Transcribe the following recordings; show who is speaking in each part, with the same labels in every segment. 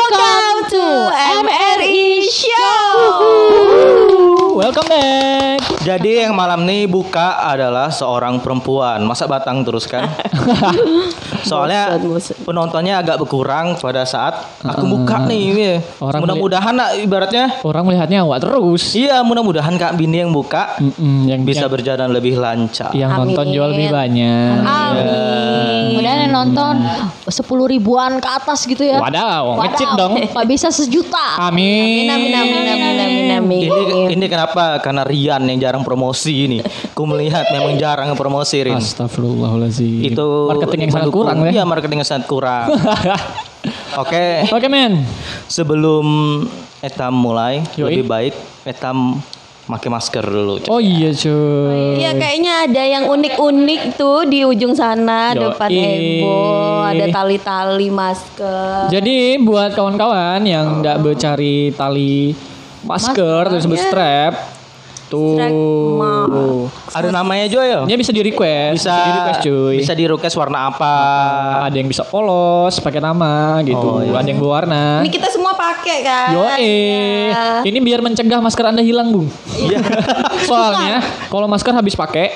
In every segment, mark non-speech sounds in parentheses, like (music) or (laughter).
Speaker 1: Welcome to MRI Show.
Speaker 2: Welcome back.
Speaker 3: Jadi yang malam ini buka adalah seorang perempuan. Masa batang terus
Speaker 2: (laughs)
Speaker 3: kan? Soalnya
Speaker 1: Bosen, bosen.
Speaker 3: penontonnya agak berkurang pada saat aku buka nih. iya.
Speaker 2: Ah. Orang
Speaker 3: mudah-mudahan nak, ibaratnya
Speaker 2: Orang melihatnya awak terus.
Speaker 3: iya mudah-mudahan Kak Bini yang buka
Speaker 2: Mm-mm, yang
Speaker 3: bisa berjalan lebih lancar.
Speaker 2: yang, yang nonton
Speaker 1: Amin.
Speaker 2: jual lebih banyak.
Speaker 1: Amin. Kemudian yang nonton 10 ribuan ke atas gitu ya.
Speaker 2: Wadaw, ngecit
Speaker 1: Wadaw.
Speaker 2: dong.
Speaker 1: Pak bisa sejuta.
Speaker 2: Amin.
Speaker 1: Amin amin amin amin amin.
Speaker 3: Ini ini kenapa? Karena Rian yang jarang promosi ini. Ku melihat memang jarang promosi Rin.
Speaker 2: Astagfirullahaladzim.
Speaker 3: Itu
Speaker 2: marketing yang sangat
Speaker 3: mendukung.
Speaker 2: kurang ya.
Speaker 3: Iya, marketing yang sangat
Speaker 2: (laughs)
Speaker 3: kurang. Oke.
Speaker 2: Oke men.
Speaker 3: Sebelum etam mulai
Speaker 2: Yoi.
Speaker 3: lebih baik etam pakai masker dulu.
Speaker 2: Oh iya cuy.
Speaker 1: Iya kayaknya ada yang unik-unik tuh di ujung sana
Speaker 2: Yoi.
Speaker 1: depan Ebo ada tali-tali masker.
Speaker 2: Jadi buat kawan-kawan yang nggak bercari tali masker terus disebut strap tuh.
Speaker 1: Strap
Speaker 3: Ada namanya juga ya?
Speaker 2: Ini Iya. bisa di request,
Speaker 3: Bisa
Speaker 2: di request cuy.
Speaker 3: bisa di request warna apa?
Speaker 2: ada yang bisa polos pakai nama
Speaker 3: Oh,
Speaker 2: gitu,
Speaker 3: iya.
Speaker 2: ada yang berwarna.
Speaker 1: Ini kita semua pakai kan. Iya.
Speaker 2: Yo ini biar mencegah masker anda hilang bung. (laughs) Soalnya kalau masker habis pakai,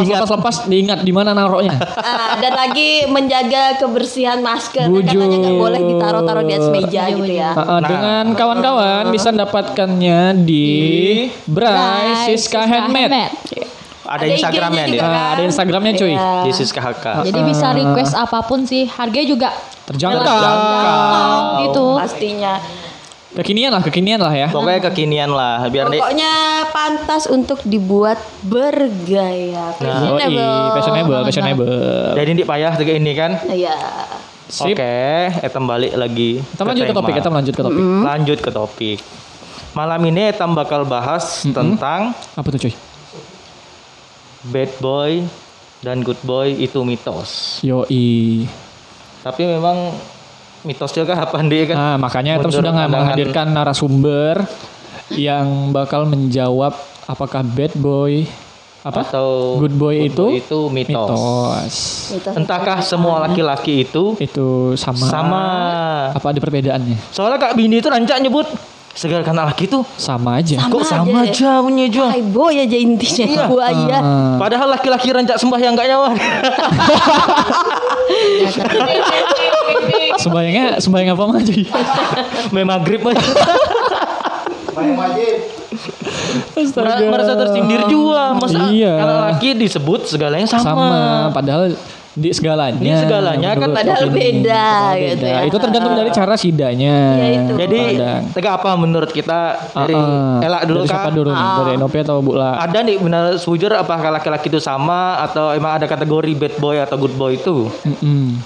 Speaker 2: lepas,
Speaker 3: diingat.
Speaker 2: lepas lepas diingat di mana naruhnya.
Speaker 1: Ah, dan lagi menjaga kebersihan masker. Kan
Speaker 2: Bujur.
Speaker 1: katanya nggak boleh ditaruh-taruh di atas meja gitu ya.
Speaker 2: Heeh, dengan kawan-kawan bisa mendapatkannya Nah. di
Speaker 4: Nah,
Speaker 2: Bray Siska Ah, Handmade.
Speaker 3: Ada Instagramnya
Speaker 1: IG-nya
Speaker 3: nih.
Speaker 1: juga.
Speaker 2: Nah, ada Instagramnya cuy.
Speaker 1: Iya.
Speaker 3: Di Siska HK.
Speaker 2: Ah.
Speaker 4: Jadi bisa request apapun sih, harganya juga
Speaker 2: Terjangkau.
Speaker 4: gitu.
Speaker 1: Pastinya.
Speaker 2: Kekinian lah, kekinian lah ya.
Speaker 3: Pokoknya kekinian lah biar nih
Speaker 1: Pokoknya pantas untuk dibuat bergaya.
Speaker 2: Nah, oh,
Speaker 1: Fashionable.
Speaker 2: fashionable, fashionable.
Speaker 3: jadi ini payah juga ini kan.
Speaker 1: Iya.
Speaker 2: Nah. Sip.
Speaker 3: Oke, etam balik lagi.
Speaker 2: Kita lanjut ke topik, kita lanjut ke topik.
Speaker 3: Lanjut ke topik. Malam ini etam bakal bahas
Speaker 2: Hmm.
Speaker 3: tentang
Speaker 2: Apa tuh cuy?
Speaker 3: bad boy dan good boy itu mitos.
Speaker 2: Yoi.
Speaker 3: Tapi memang mitos juga apa dia kan?
Speaker 2: Nah, makanya Etam
Speaker 3: Menurut
Speaker 2: sudah nggak
Speaker 3: pandangan-
Speaker 2: menghadirkan narasumber yang bakal menjawab apakah bad boy apa
Speaker 3: Atau
Speaker 2: good boy itu
Speaker 3: itu mitos.
Speaker 2: mitos.
Speaker 1: Mitos.
Speaker 3: Entahkah semua laki-laki itu
Speaker 2: Itu sama.
Speaker 3: sama?
Speaker 2: Apa ada perbedaannya?
Speaker 3: Soalnya Kak Bini itu rancak nyebut segala laki itu
Speaker 2: Sama aja.
Speaker 1: Sama
Speaker 3: kok
Speaker 1: aja
Speaker 3: sama
Speaker 1: ya.
Speaker 3: aja punya juga.
Speaker 1: Hai boy aja intinya buaya.
Speaker 2: Ah.
Speaker 3: Padahal laki-laki rancak sembah yang gak nyawa.
Speaker 2: Sembayangnya sembayang apa
Speaker 1: (laughs)
Speaker 2: aja.
Speaker 3: (laughs) Memang grip aja. Mer- Merasa tersindir juga. Masa
Speaker 2: Iya.
Speaker 3: kalau laki disebut segalanya sama.
Speaker 2: sama padahal di segalanya.
Speaker 3: Di segalanya kan
Speaker 1: (laughs)
Speaker 2: menurut
Speaker 1: Padahal
Speaker 2: opini.
Speaker 1: beda gitu
Speaker 2: Beda.
Speaker 1: ya.
Speaker 2: Itu tergantung dari cara sidanya.
Speaker 1: Ya, itu.
Speaker 3: Jadi
Speaker 2: Padang.
Speaker 3: tegak apa menurut kita dari
Speaker 2: Ah,
Speaker 3: elak dulu Ah.
Speaker 2: dari
Speaker 3: Kak?
Speaker 2: siapa dulu nih? Dari
Speaker 1: Ah.
Speaker 2: NOP atau Bu La?
Speaker 3: Ada nih benar sujur apakah laki-laki itu sama atau emang ada kategori bad boy atau good boy itu?
Speaker 2: Mm-mm.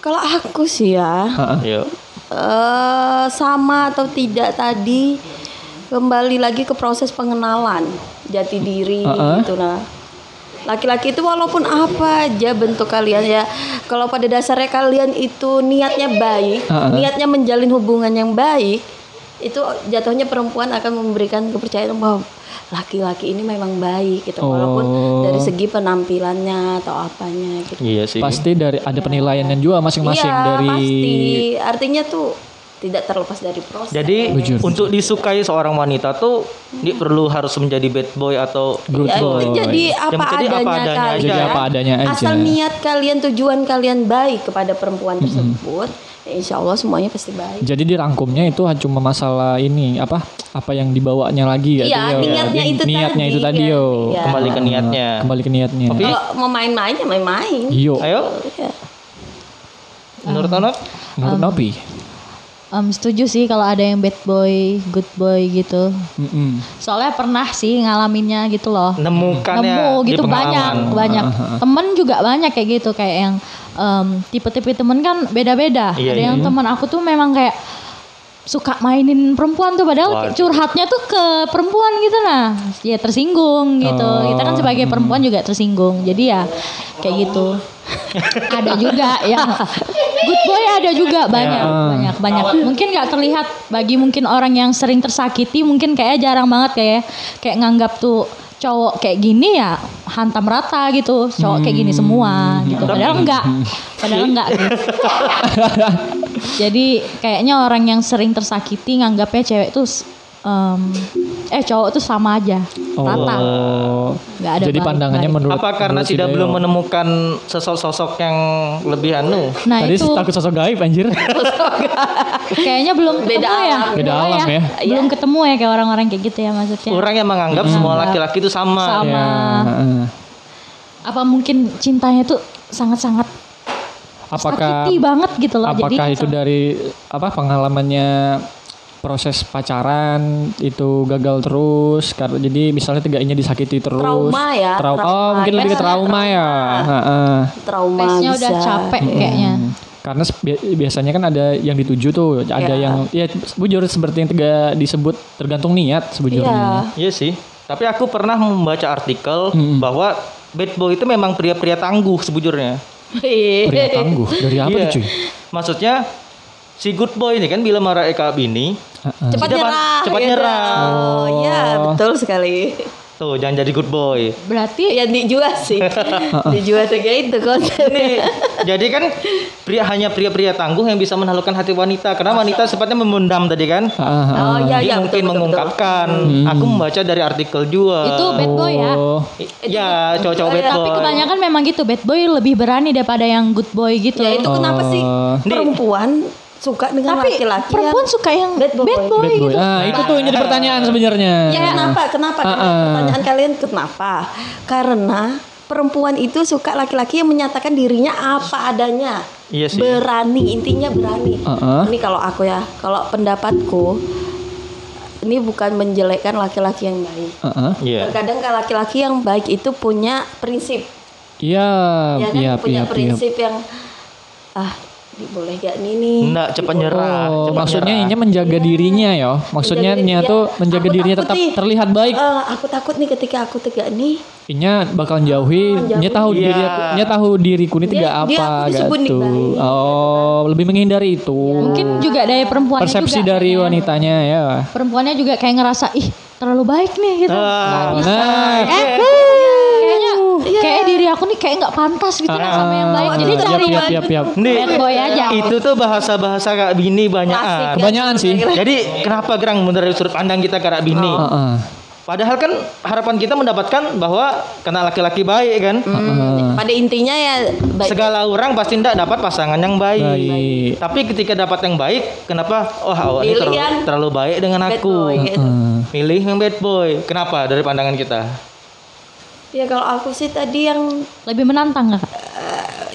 Speaker 1: Kalau aku sih ya,
Speaker 3: Yuk.
Speaker 1: eh sama atau tidak tadi kembali lagi ke proses pengenalan jati diri
Speaker 2: Uh-uh.
Speaker 1: gitu nah laki-laki itu walaupun apa aja bentuk kalian ya kalau pada dasarnya kalian itu niatnya baik
Speaker 2: Uh-uh.
Speaker 1: niatnya menjalin hubungan yang baik itu jatuhnya perempuan akan memberikan kepercayaan bahwa laki-laki ini memang baik gitu walaupun
Speaker 2: Oh.
Speaker 1: dari segi penampilannya atau apanya gitu
Speaker 3: Iya sih.
Speaker 2: Pasti dari ada penilaian dan juga masing-masing
Speaker 1: Iya,
Speaker 2: dari
Speaker 1: pasti artinya tuh tidak terlepas dari proses
Speaker 3: Jadi
Speaker 2: Jujur.
Speaker 3: untuk disukai seorang wanita tuh dia perlu harus menjadi bad boy atau iya.
Speaker 2: good
Speaker 1: Ya,
Speaker 2: boy.
Speaker 1: itu jadi apa
Speaker 3: jadi apa
Speaker 1: adanya
Speaker 3: adanya
Speaker 1: kalian.
Speaker 3: aja.
Speaker 2: Jadi apa adanya aja.
Speaker 1: Asal niat kalian, tujuan kalian baik kepada perempuan tersebut, ya insya Allah semuanya pasti baik.
Speaker 2: Jadi dirangkumnya itu cuma masalah ini apa apa yang dibawanya lagi gitu
Speaker 1: Iya,
Speaker 2: ya.
Speaker 1: niatnya itu
Speaker 2: niatnya
Speaker 1: tadi
Speaker 2: itu tadi
Speaker 1: kan.
Speaker 2: yo.
Speaker 1: Iya.
Speaker 3: Kembali ke
Speaker 2: Ah,
Speaker 3: niatnya.
Speaker 2: Kembali ke niatnya.
Speaker 3: Tapi-
Speaker 1: Kalau mau main-main ya main-main.
Speaker 2: Yo,
Speaker 3: Ayo,
Speaker 1: Ya.
Speaker 4: Iya.
Speaker 3: menurut Anok?
Speaker 2: menurut Nopi.
Speaker 4: Em, setuju sih kalau ada yang bad boy, good boy gitu.
Speaker 2: Mm-mm.
Speaker 4: Soalnya pernah sih ngalaminnya gitu loh.
Speaker 2: Nah,
Speaker 3: Nemukannya
Speaker 4: Nemu
Speaker 3: ya, di
Speaker 4: gitu
Speaker 3: pengalaman.
Speaker 4: banyak, banyak. Temen juga banyak kayak gitu kayak yang em, tipe-tipe temen kan beda-beda.
Speaker 3: Iya,
Speaker 4: ada
Speaker 3: iya,
Speaker 4: yang teman aku tuh memang kayak suka mainin perempuan tuh padahal
Speaker 3: Waduh.
Speaker 4: curhatnya tuh ke perempuan gitu nah ya tersinggung gitu
Speaker 3: Oh.
Speaker 4: kita kan sebagai perempuan juga tersinggung jadi ya kayak gitu ada juga ya good boy ada
Speaker 2: Ya.
Speaker 4: juga banyak
Speaker 2: Ah.
Speaker 4: banyak banyak mungkin nggak terlihat bagi mungkin orang yang sering tersakiti mungkin kayak jarang banget kayak kayak nganggap tuh cowok kayak gini ya hantam rata
Speaker 2: Hmm. (laughs)
Speaker 4: gitu cowok kayak gini semua gitu padahal enggak padahal enggak sih. Jadi kayaknya orang yang sering tersakiti nganggapnya cewek tuh em, eh cowok tuh sama aja. Rata.
Speaker 2: Oh.
Speaker 4: Nggak
Speaker 2: Jadi
Speaker 4: ada balik-balik.
Speaker 2: pandangannya menurut
Speaker 3: Apa karena
Speaker 2: menurut
Speaker 3: tidak
Speaker 2: Cidayo.
Speaker 3: belum menemukan sosok-sosok yang lebih anu?
Speaker 4: Nah,
Speaker 2: Tadi
Speaker 4: itu
Speaker 2: takut sosok gaib anjir.
Speaker 4: kayaknya belum ketemu
Speaker 1: Beda
Speaker 4: ya.
Speaker 1: alam.
Speaker 2: Beda
Speaker 4: Belum
Speaker 2: alam ya.
Speaker 4: Belum ketemu ya kayak orang-orang kayak gitu ya maksudnya.
Speaker 3: Orang yang menganggap semua laki-laki itu sama.
Speaker 4: Hmm. Sama.
Speaker 2: Ya, heeh.
Speaker 4: Apa mungkin cintanya tuh sangat-sangat
Speaker 2: Apakah
Speaker 4: sakiti banget gitu loh.
Speaker 2: apakah
Speaker 4: Jadi
Speaker 2: itu dari apa pengalamannya proses pacaran itu gagal terus karena jadi misalnya tiganya disakiti terus
Speaker 1: Trauma ya,
Speaker 2: Trau- oh
Speaker 1: trauma.
Speaker 2: mungkin lebih ke
Speaker 1: Biasanya
Speaker 2: trauma, ya Heeh. Hmm.
Speaker 1: trauma
Speaker 4: face-nya
Speaker 1: bisa.
Speaker 4: udah capek kayaknya.
Speaker 2: karena se- bi- biasanya kan ada yang dituju tuh
Speaker 4: Iya.
Speaker 2: ada
Speaker 1: Ya.
Speaker 2: yang ya bujur seperti yang tiga disebut tergantung niat
Speaker 1: Iya.
Speaker 2: sebujurnya
Speaker 3: Iya sih. Tapi aku pernah membaca artikel bahwa bad boy itu memang pria-pria tangguh sebujurnya.
Speaker 4: Iya.
Speaker 2: pria tangguh dari apa
Speaker 3: Iya.
Speaker 2: tuh cuy
Speaker 3: Maksudnya si good boy ini kan bila marah Eka bini,
Speaker 2: Heeh.
Speaker 1: cepat
Speaker 3: Cepat-
Speaker 1: nyerah.
Speaker 3: cepat
Speaker 1: gitu.
Speaker 3: nyerah.
Speaker 1: Oh, iya, betul sekali.
Speaker 3: tuh jangan jadi good boy.
Speaker 4: Berarti
Speaker 1: Ya dijual sih. dijual tuh kayak itu konsepnya.
Speaker 2: (laughs)
Speaker 3: Nih, jadi kan pria hanya pria-pria tangguh yang bisa menaklukkan hati wanita karena wanita sepatnya memendam tadi kan.
Speaker 2: Heeh, heeh.
Speaker 1: Oh iya
Speaker 3: Dia
Speaker 1: iya betul,
Speaker 3: mungkin
Speaker 1: betul,
Speaker 3: mengungkapkan.
Speaker 2: Hmm.
Speaker 3: Aku membaca dari artikel juga.
Speaker 4: itu bad boy ya.
Speaker 2: Oh.
Speaker 3: I- Ya, cowok-cowok bad
Speaker 4: Tapi
Speaker 3: boy.
Speaker 4: kebanyakan memang gitu bad boy lebih berani daripada yang good boy gitu.
Speaker 1: betul. Ya itu kenapa sih
Speaker 3: Nih.
Speaker 1: perempuan suka dengan
Speaker 4: Tapi
Speaker 1: laki-laki yang-
Speaker 4: perempuan suka yang
Speaker 1: bad boy.
Speaker 4: bad boy,
Speaker 2: Bad boy.
Speaker 4: gitu.
Speaker 2: Ah, itu tuh yang jadi pertanyaan sebenarnya.
Speaker 4: Iya,
Speaker 1: Ya eh. kenapa? Kenapa?
Speaker 2: Ah,
Speaker 1: Kenapa?
Speaker 2: ah.
Speaker 1: Pertanyaan kalian kenapa? Karena perempuan itu suka laki-laki yang menyatakan dirinya apa adanya.
Speaker 3: Iya sih. Eh,
Speaker 1: Berani, intinya berani.
Speaker 2: Ah, ah.
Speaker 1: Ini kalau aku ya, kalau pendapatku ini bukan menjelekkan laki-laki yang baik.
Speaker 2: Heeh.
Speaker 3: Iya.
Speaker 1: Terkadang kalau laki-laki yang baik itu punya prinsip.
Speaker 2: Iya,
Speaker 3: Oh,
Speaker 1: ya kan?
Speaker 2: iya,
Speaker 1: punya
Speaker 2: iya, iya.
Speaker 1: prinsip yang ah, ini boleh gak nih nih.
Speaker 3: Enggak, cepat nyerah.
Speaker 2: Oh,
Speaker 3: cepat
Speaker 2: maksudnya
Speaker 3: nyerah.
Speaker 2: ini menjaga dirinya ya. Maksudnya
Speaker 1: Iya. Menjaga
Speaker 2: nya
Speaker 1: dirinya.
Speaker 2: tuh menjaga
Speaker 1: iya. Aku
Speaker 2: dirinya
Speaker 1: takut
Speaker 2: tetap
Speaker 1: nih.
Speaker 2: terlihat baik.
Speaker 1: Eh, aku takut nih ketika aku tegak nih
Speaker 2: Inya bakal jauhi, nya tahu
Speaker 3: Iya.
Speaker 2: diri aku, nya tahu diriku ini
Speaker 1: Dia-
Speaker 2: tidak
Speaker 1: dia
Speaker 2: apa
Speaker 1: aku disebut Iya,
Speaker 2: gitu.
Speaker 1: baik,
Speaker 2: Oh, lebih menghindari itu.
Speaker 4: Mungkin juga dari
Speaker 1: Oh.
Speaker 4: perempuannya
Speaker 2: Persepsi
Speaker 4: juga.
Speaker 1: kan.
Speaker 2: dari wanitanya ya.
Speaker 4: Perempuannya juga kayak ngerasa ih terlalu baik nih gitu.
Speaker 2: Eh.
Speaker 3: Ah,
Speaker 2: Nah,
Speaker 1: Iya.
Speaker 4: Eh, kayaknya kayak diri aku nih kayak nggak pantas gitu lah sama yang baik. Jadi
Speaker 2: iya,
Speaker 4: cari
Speaker 2: iya, iya, iya.
Speaker 3: Nih,
Speaker 4: bad boy aja.
Speaker 3: itu tuh bahasa-bahasa kak bini
Speaker 1: Klasik,
Speaker 3: banyakan.
Speaker 1: kan?
Speaker 2: Kebanyakan sih. Ah,
Speaker 3: Jadi kenapa gerang menurut sudut pandang kita kak bini?
Speaker 1: Oh.
Speaker 2: Heeh.
Speaker 3: Padahal kan harapan kita mendapatkan bahwa kena laki-laki baik kan.
Speaker 1: pada intinya ya Hmm, baik
Speaker 3: Segala orang pasti tidak dapat pasangan
Speaker 1: iya.
Speaker 3: yang baik.
Speaker 2: Baik.
Speaker 3: Tapi ketika dapat yang baik, kenapa? Oh, awak ini
Speaker 1: Milih
Speaker 3: terlalu,
Speaker 1: yang
Speaker 3: terlalu baik dengan
Speaker 1: bad
Speaker 3: aku.
Speaker 1: boy, gitu.
Speaker 2: Heeh.
Speaker 3: Milih yang bad boy. Kenapa? Dari pandangan kita.
Speaker 1: Ya kalau aku sih tadi yang
Speaker 4: Lebih menantang nggak?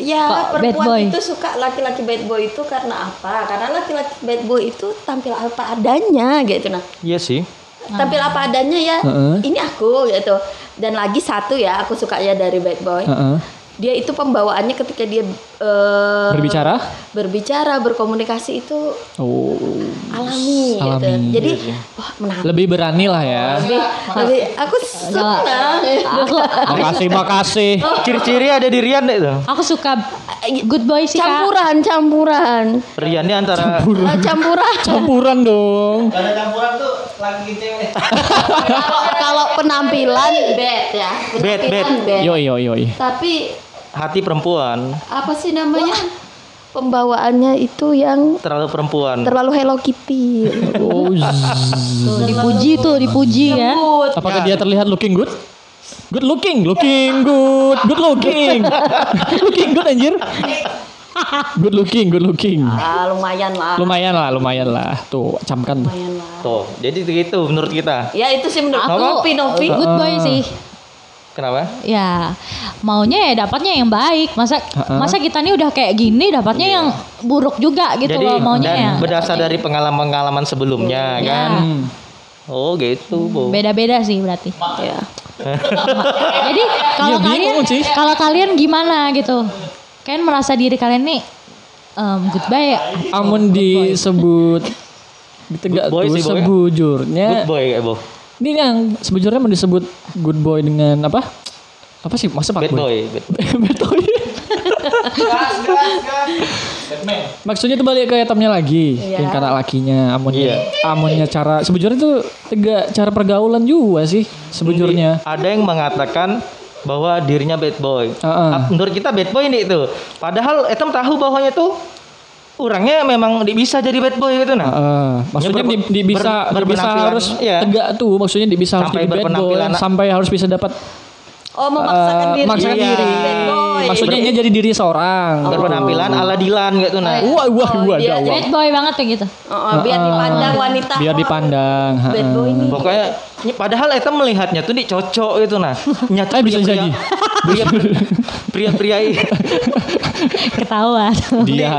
Speaker 1: ya
Speaker 4: Kok bad
Speaker 1: perempuan
Speaker 4: boy?
Speaker 1: itu suka laki-laki bad boy itu karena apa? Karena laki-laki bad boy itu tampil apa adanya gitu nah.
Speaker 3: Iya sih.
Speaker 1: Tampil apa adanya ya.
Speaker 2: Ah. Heeh.
Speaker 1: Ini aku gitu. Dan lagi satu ya aku sukanya dari bad boy.
Speaker 2: Heeh.
Speaker 1: Dia itu pembawaannya ketika dia eh,
Speaker 2: Berbicara?
Speaker 1: berbicara, berkomunikasi itu
Speaker 2: Oh,
Speaker 1: alami, gitu.
Speaker 2: Alami.
Speaker 1: Jadi wah menarik.
Speaker 2: lebih berani lah ya.
Speaker 1: Lebih, lebih aku senang.
Speaker 4: Aku
Speaker 2: Makasih,
Speaker 1: (laughs)
Speaker 2: makasih.
Speaker 1: Oh.
Speaker 3: Ciri-ciri ada di Rian itu.
Speaker 4: aku suka good boy sih kak.
Speaker 1: Campuran, campuran.
Speaker 3: Rian ini antara
Speaker 1: Eh, campuran.
Speaker 2: Campuran dong.
Speaker 1: (laughs) kalau kalau penampilan bad ya
Speaker 3: Bad,
Speaker 1: penampilan
Speaker 3: bad.
Speaker 2: Yoi, yoi, yoi.
Speaker 1: tapi
Speaker 3: hati perempuan,
Speaker 1: apa sih namanya pembawaannya itu yang
Speaker 3: terlalu perempuan.
Speaker 1: terlalu Hello Kitty
Speaker 2: Oh, zzz.
Speaker 4: Tuh, dipuji tuh dipuji ya.
Speaker 2: Apakah dia terlihat looking good? Good looking, looking good, good looking, (laughs) looking good anjir. (laughs) Good looking, good looking.
Speaker 1: ah, lumayan lah
Speaker 2: Lumayan lah, lumayan lah. Tuh, camkan. tuh.
Speaker 1: lumayan lah
Speaker 3: Tuh, jadi gitu menurut kita.
Speaker 1: ya itu sih menurut
Speaker 4: Aku
Speaker 1: Nopi Nopi
Speaker 4: good boy sih.
Speaker 3: Kenapa?
Speaker 4: Ya, maunya ya dapatnya yang baik. Masa
Speaker 2: Ha-ha.
Speaker 4: masa kita nih udah kayak gini dapatnya yang buruk juga gitu
Speaker 3: Jadi
Speaker 4: loh maunya
Speaker 3: dan
Speaker 4: ya.
Speaker 3: berdasar dari pengalaman-pengalaman
Speaker 2: Iya.
Speaker 3: sebelumnya
Speaker 4: Ya.
Speaker 3: kan.
Speaker 2: Hmm.
Speaker 3: Oh gitu, Bu.
Speaker 4: Beda-beda sih berarti.
Speaker 1: ya.
Speaker 4: Jadi kalau
Speaker 2: Iya, bingung
Speaker 4: kalian
Speaker 2: sih.
Speaker 4: kalau kalian gimana gitu? Kalian merasa diri kalian nih em, good boy ya?
Speaker 2: Amun disebut ditegak
Speaker 3: Good boy
Speaker 2: tuh
Speaker 3: sih, boy. Good
Speaker 2: sebujurnya.
Speaker 3: boy kayak Bu.
Speaker 2: Ini yang sebujurnya mau disebut good boy dengan apa? Apa sih? Masa
Speaker 3: Bad
Speaker 2: pak boy? Iya.
Speaker 3: boy. bad-
Speaker 2: (laughs) Betul. Maksudnya itu balik ke etamnya lagi,
Speaker 1: Iya.
Speaker 2: yang karena lakinya, amonnya,
Speaker 3: Iya.
Speaker 2: amonnya cara sebujurnya itu tegak cara pergaulan juga sih sebujurnya.
Speaker 3: Ada yang mengatakan bahwa dirinya bad boy.
Speaker 2: Heeh.
Speaker 3: Ah, Menurut kita bad boy nih itu. Padahal Etam tahu bahwanya itu orangnya memang di- bisa jadi bad boy gitu nah.
Speaker 2: Heeh. maksudnya
Speaker 3: Ini
Speaker 2: di,
Speaker 3: ber-
Speaker 2: di bisa di
Speaker 3: ber-
Speaker 2: bisa
Speaker 3: berpenampilan,
Speaker 2: harus
Speaker 3: iya.
Speaker 2: tegak tuh maksudnya di bisa harus
Speaker 3: Sampai
Speaker 2: jadi bad boy
Speaker 3: berpenampilan-
Speaker 2: sampai harus bisa dapat
Speaker 1: Oh, memaksakan diri.
Speaker 2: Eh, memaksakan
Speaker 1: Jadi
Speaker 2: diri.
Speaker 1: bad boy.
Speaker 2: maksudnya dia jadi diri seorang.
Speaker 3: Oh. Berpenampilan ala Dilan gitu nah.
Speaker 2: Wah wah wah
Speaker 1: Oh, dia
Speaker 2: gawat.
Speaker 4: Bad boy banget kayak gitu. (laughs)
Speaker 1: Oh, oh, biar dipandang wanita.
Speaker 2: Eh, Biar
Speaker 1: oh,
Speaker 2: dipandang.
Speaker 1: Bad boy nih.
Speaker 3: Pokoknya ya, padahal Eta melihatnya tuh dicocok gitu nah. Nyata
Speaker 2: Eh, bisa jadi.
Speaker 3: Pria,
Speaker 2: (laughs)
Speaker 3: pria-pria
Speaker 4: Ketawa.
Speaker 2: Dia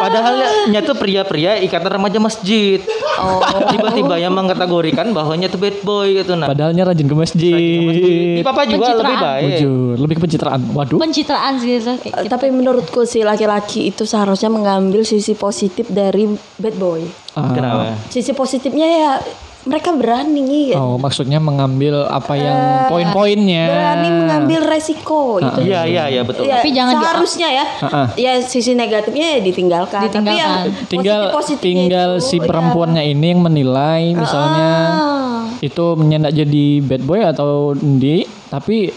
Speaker 3: padahal ya, nyata pria-pria ikatan remaja masjid.
Speaker 1: Oh.
Speaker 3: Tiba-tiba yang mengkategorikan bahwa nyata bad boy gitu nah.
Speaker 2: padahalnya rajin ke
Speaker 3: Ini
Speaker 2: masjid.
Speaker 3: papa juga lebih
Speaker 4: Pencitraan.
Speaker 3: baik.
Speaker 2: Jujur, lebih ke pencitraan. Waduh.
Speaker 4: Pencitraan sih gitu. Kayak
Speaker 1: Eh, Tapi menurutku sih laki-laki itu seharusnya mengambil sisi positif dari bad boy.
Speaker 2: Ah,
Speaker 3: Kenapa?
Speaker 1: Sisi positifnya ya mereka berani ya.
Speaker 2: oh, iya. maksudnya mengambil apa yang poin-poinnya.
Speaker 1: Berani mengambil resiko itu.
Speaker 3: Iya iya iya betul.
Speaker 1: Ya,
Speaker 4: Tapi jangan di-
Speaker 1: seharusnya ya.
Speaker 2: Ah, ah.
Speaker 1: Ya sisi negatifnya ya ditinggalkan. Tapi ya
Speaker 4: Ditinggalkan.
Speaker 2: tinggal
Speaker 1: positif-positifnya
Speaker 2: tinggal
Speaker 1: itu,
Speaker 2: si
Speaker 1: ya.
Speaker 2: perempuannya ini yang menilai misalnya
Speaker 1: Ah.
Speaker 2: itu menyendak jadi bad boy atau ndi tapi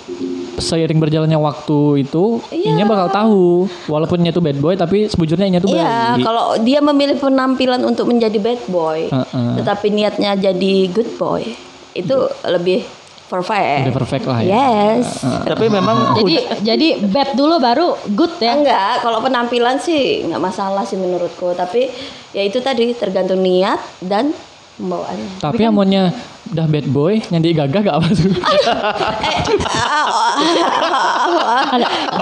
Speaker 2: seiring berjalannya waktu itu inya bakal tahu walaupun inya tuh bad boy tapi sebujurnya inya tuh
Speaker 1: Iya,
Speaker 2: baik
Speaker 1: kalau dia memilih penampilan untuk menjadi bad boy,
Speaker 2: Heeh.
Speaker 1: tetapi niatnya jadi good boy, itu lebih perfect.
Speaker 2: Iya. Lebih perfect lah ya.
Speaker 1: Yes.
Speaker 3: Tapi memang
Speaker 4: Jadi jadi bad dulu baru good ya.
Speaker 1: Enggak, kalau penampilan sih nggak masalah sih menurutku, tapi ya itu tadi tergantung niat dan pembawaannya.
Speaker 2: tapi amonnya udah bad boy yang gagah gak apa tuh